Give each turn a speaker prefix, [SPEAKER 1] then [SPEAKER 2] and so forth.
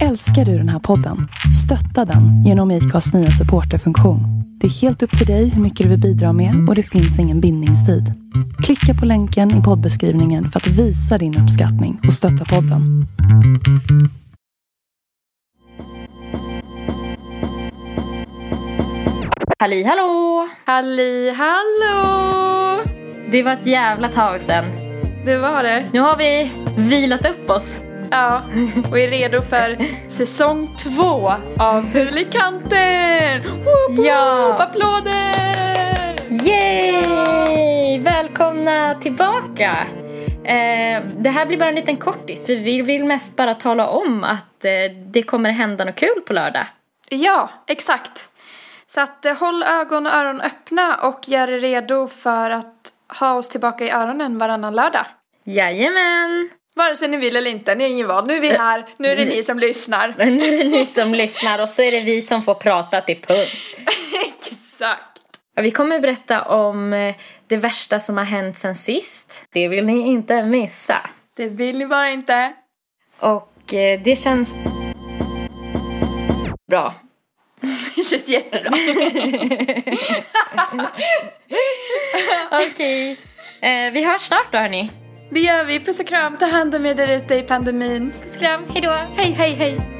[SPEAKER 1] Älskar du den här podden? Stötta den genom IKAs nya supporterfunktion. Det är helt upp till dig hur mycket du vill bidra med och det finns ingen bindningstid. Klicka på länken i poddbeskrivningen för att visa din uppskattning och stötta podden.
[SPEAKER 2] Halli hallå!
[SPEAKER 3] Halli hallå!
[SPEAKER 2] Det var ett jävla tag sen.
[SPEAKER 3] Det var det.
[SPEAKER 2] Nu har vi vilat upp oss.
[SPEAKER 3] Ja, och är redo för säsong två av Fulikanten! Woop, woop,
[SPEAKER 2] Ja.
[SPEAKER 3] Applåder!
[SPEAKER 2] Yay! Välkomna tillbaka! Eh, det här blir bara en liten kortis för vi vill mest bara tala om att eh, det kommer hända något kul på lördag.
[SPEAKER 3] Ja, exakt. Så att eh, håll ögon och öron öppna och gör er redo för att ha oss tillbaka i öronen varannan lördag.
[SPEAKER 2] Jajamän!
[SPEAKER 3] Vare sig ni vill eller inte, ni är ingen van. Nu är vi här, nu är det ni som lyssnar.
[SPEAKER 2] Nu är det ni som lyssnar och så är det vi som får prata till punkt.
[SPEAKER 3] Exakt.
[SPEAKER 2] Ja, Vi kommer berätta om eh, det värsta som har hänt sen sist. Det vill ni inte missa.
[SPEAKER 3] Det vill ni bara inte.
[SPEAKER 2] Och eh, det känns bra.
[SPEAKER 3] Det känns jättebra.
[SPEAKER 2] Okej. Eh, vi hörs snart då hörni.
[SPEAKER 3] Det gör vi. Puss och kram, ta hand om er där ute i pandemin.
[SPEAKER 2] Puss och kram, hejdå.
[SPEAKER 3] Hej, hej, hej.